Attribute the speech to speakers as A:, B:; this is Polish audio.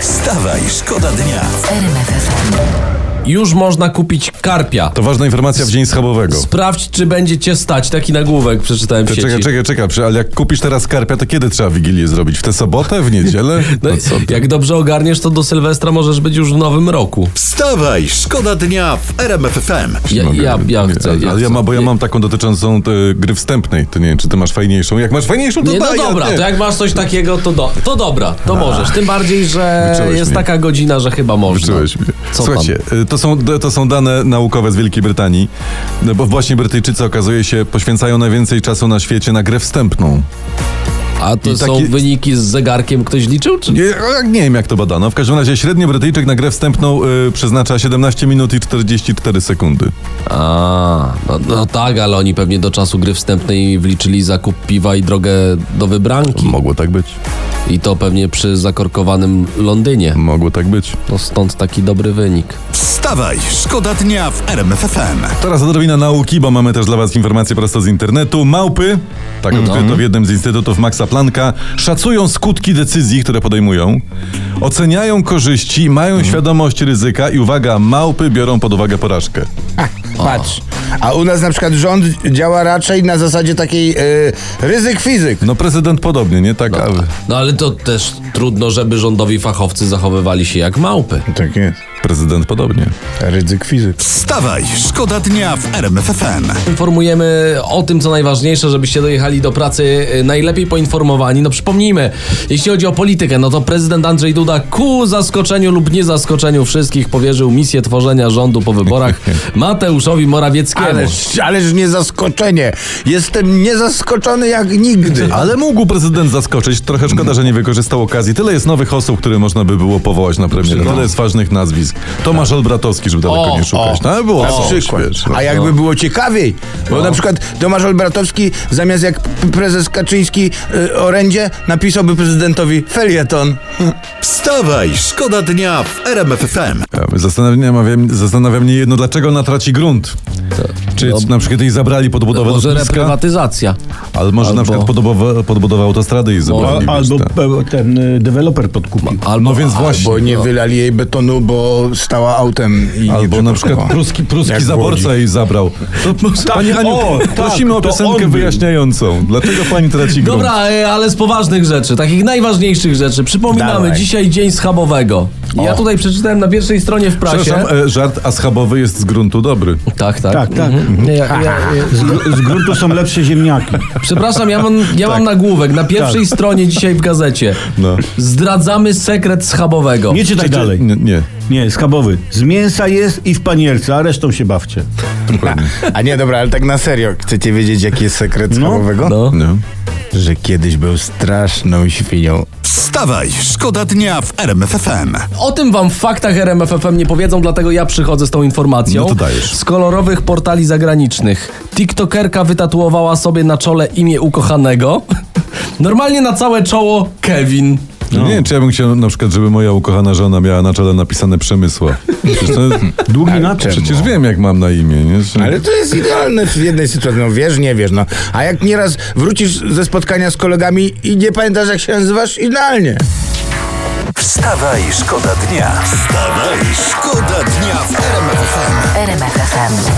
A: Wstawaj, szkoda dnia.
B: Już można kupić karpia.
C: To ważna informacja w dzień schabowego.
B: Sprawdź, czy będzie cię stać. Taki nagłówek przeczytałem w
C: Czekaj,
B: sieci.
C: czekaj, czekaj, czekaj, przy- ale jak kupisz teraz karpia, to kiedy trzeba Wigilię zrobić? W tę sobotę, w niedzielę?
B: No,
C: No co ty?
B: jak dobrze ogarniesz, to do Sylwestra możesz być już w nowym roku.
A: Wstawaj, szkoda dnia w RMF FM.
B: Ja,
C: Mogę-
B: ja, ja
C: nie,
B: chcę.
C: ale ja
B: chcę.
C: ma, bo ja mam taką dotyczącą e, gry wstępnej. To nie wiem, czy ty masz fajniejszą. Jak masz fajniejszą, to
B: Nie, no
C: daj, ja
B: dobra,
C: nie.
B: to jak masz coś takiego, to, do, to dobra, to możesz. Tym bardziej, że
C: Wyczułeś
B: jest
C: mnie.
B: taka godzina, że chyba można.
C: Czułeś mnie.
B: Co
C: Słuchajcie, y, to są, to są dane naukowe z Wielkiej Brytanii, no bo właśnie Brytyjczycy okazuje się poświęcają najwięcej czasu na świecie na grę wstępną.
B: tam? A to
C: I
B: są
C: taki-
B: wyniki z zegarkiem, ktoś liczył? Czy...
C: Nie, a nie wiem jak to badano. W każdym razie średnio Brytyjczyk na grę wstępną y, przeznacza 17 minut i 44 sekundy.
B: A, no, no tak, ale oni pewnie do czasu gry wstępnej wliczyli zakup piwa i drogę do wybranki.
C: Mogło tak być.
B: I to pewnie przy zakorkowanym Londynie.
C: Mogło tak być.
B: No stąd taki dobry wynik.
A: Wstawaj, szkoda dnia w RMF FM.
C: Teraz odrobina nauki, bo mamy też dla Was informacje prosto z internetu. Małpy, tak
B: Mhm.
C: odkryto w jednym z instytutów Maxa Plancka, szacują skutki decyzji, które podejmują, oceniają korzyści, mają
B: Mhm.
C: świadomość ryzyka i uwaga, małpy biorą pod uwagę porażkę.
D: Patrz. A u nas na przykład rząd działa raczej na zasadzie takiej y, ryzyk fizyk.
C: No prezydent podobnie, nie tak? A
B: No ale to też trudno, żeby rządowi fachowcy zachowywali się jak małpy.
D: Tak jest.
C: prezydent podobnie.
D: Ryzyk fizyk.
A: Wstawaj, szkoda dnia w RMF FM.
B: Informujemy o tym, co najważniejsze, żebyście dojechali do pracy y, najlepiej poinformowani. No przypomnijmy, jeśli chodzi o politykę, no to prezydent Andrzej Duda ku zaskoczeniu lub nie zaskoczeniu wszystkich powierzył misję tworzenia rządu po wyborach Mateuszowi Morawieckiemu.
D: Ależ, ależ nie zaskoczenie. Jestem niezaskoczony jak nigdy.
C: Ale mógł prezydent zaskoczyć, trochę
B: Mhm.
C: szkoda, że nie wykorzystał okazji. Tyle jest nowych osób, które można by było powołać na premiera. Tyle jest ważnych nazwisk. Tomasz Olbratowski, żeby daleko
B: No. Tak. O,
C: nie szukać. No, ale było
D: Na
C: coś,
D: przykład.
C: wiesz, no.
D: A jakby było ciekawiej, bo na przykład Tomasz Olbratowski zamiast jak p- prezes Kaczyński y, orędzie napisałby prezydentowi felieton.
A: Wstawaj, szkoda dnia w RMF FM.
C: Ja Zastanawia mnie, zastanawia mnie jedno, dlaczego ona traci grunt. Czy
B: no-
C: na przykład jej zabrali pod budowę
B: Może
C: lotniska,
B: reprywatyzacja.
C: ale może na
B: albo-
C: przykład pod budowę, pod budowę autostrady jej zabrali.
E: A,
C: wiesz,
E: albo
C: tak.
E: pe- ten y, deweloper podkupił.
B: Albo,
C: No więc właśnie.
D: Bo nie
B: No.
D: wylali jej betonu, bo stała autem i nie
C: Albo na
D: przeparkowała.
C: przykład pruski,
D: Jak
C: pruski
D: w
C: zaborca jej zabrał. To, pani Aniu,
E: o, tak,
C: prosimy o
E: to
C: piosenkę
E: on był.
C: wyjaśniającą. Dlaczego pani traci grunt?
B: Dobra, e, ale z poważnych rzeczy, takich najważniejszych rzeczy. Przypominamy,
D: Dawaj.
B: dzisiaj dzień schabowego. Ja tutaj przeczytałem na pierwszej stronie w prasie.
C: Przepraszam, e, żart aschabowy jest z gruntu dobry.
B: Tak, tak.
E: Tak, tak.
B: Mhm. Nie, ja, ja,
E: Z, gr- z gruntu są lepsze ziemniaki.
B: przepraszam, ja mam, ja mam nagłówek. Na pierwszej stronie dzisiaj w gazecie.
C: No.
B: Zdradzamy sekret schabowego.
E: Nie czytaj dalej.
C: Nie, nie.
E: Znaczy, Nie, skabowy. Z mięsa jest i w panierce, a resztą się bawcie.
D: A nie, dobra, ale tak na serio. Chcecie wiedzieć, jaki jest sekret schabowego?
B: No.
C: nie.
D: Że kiedyś był straszną świnią.
A: Wstawaj, szkoda dnia w RMF FM.
B: O tym wam w faktach RMFFM nie powiedzą, dlatego ja przychodzę z tą informacją.
C: No to dajesz.
B: Z kolorowych portali zagranicznych. TikTokerka wytatuowała sobie na czole imię ukochanego. Normalnie na całe czoło Kevin.
C: No. Nie wiem, czy ja bym chciał na przykład, żeby moja ukochana żona miała na czele napisane Przemysław. Przecież, to,
E: Długi
D: Ale
E: na czym?
D: czemu?
C: przecież wiem, jak mam na imię. Nie? Że-
D: Ale to jest idealne w jednej sytuacji. No wiesz, nie wiesz, no. A jak nieraz wrócisz ze spotkania z kolegami i nie pamiętasz, jak się nazywasz? Idealnie.
A: Wstawaj, szkoda dnia. Wstawaj, szkoda dnia w RMF FM.
F: RMFFM.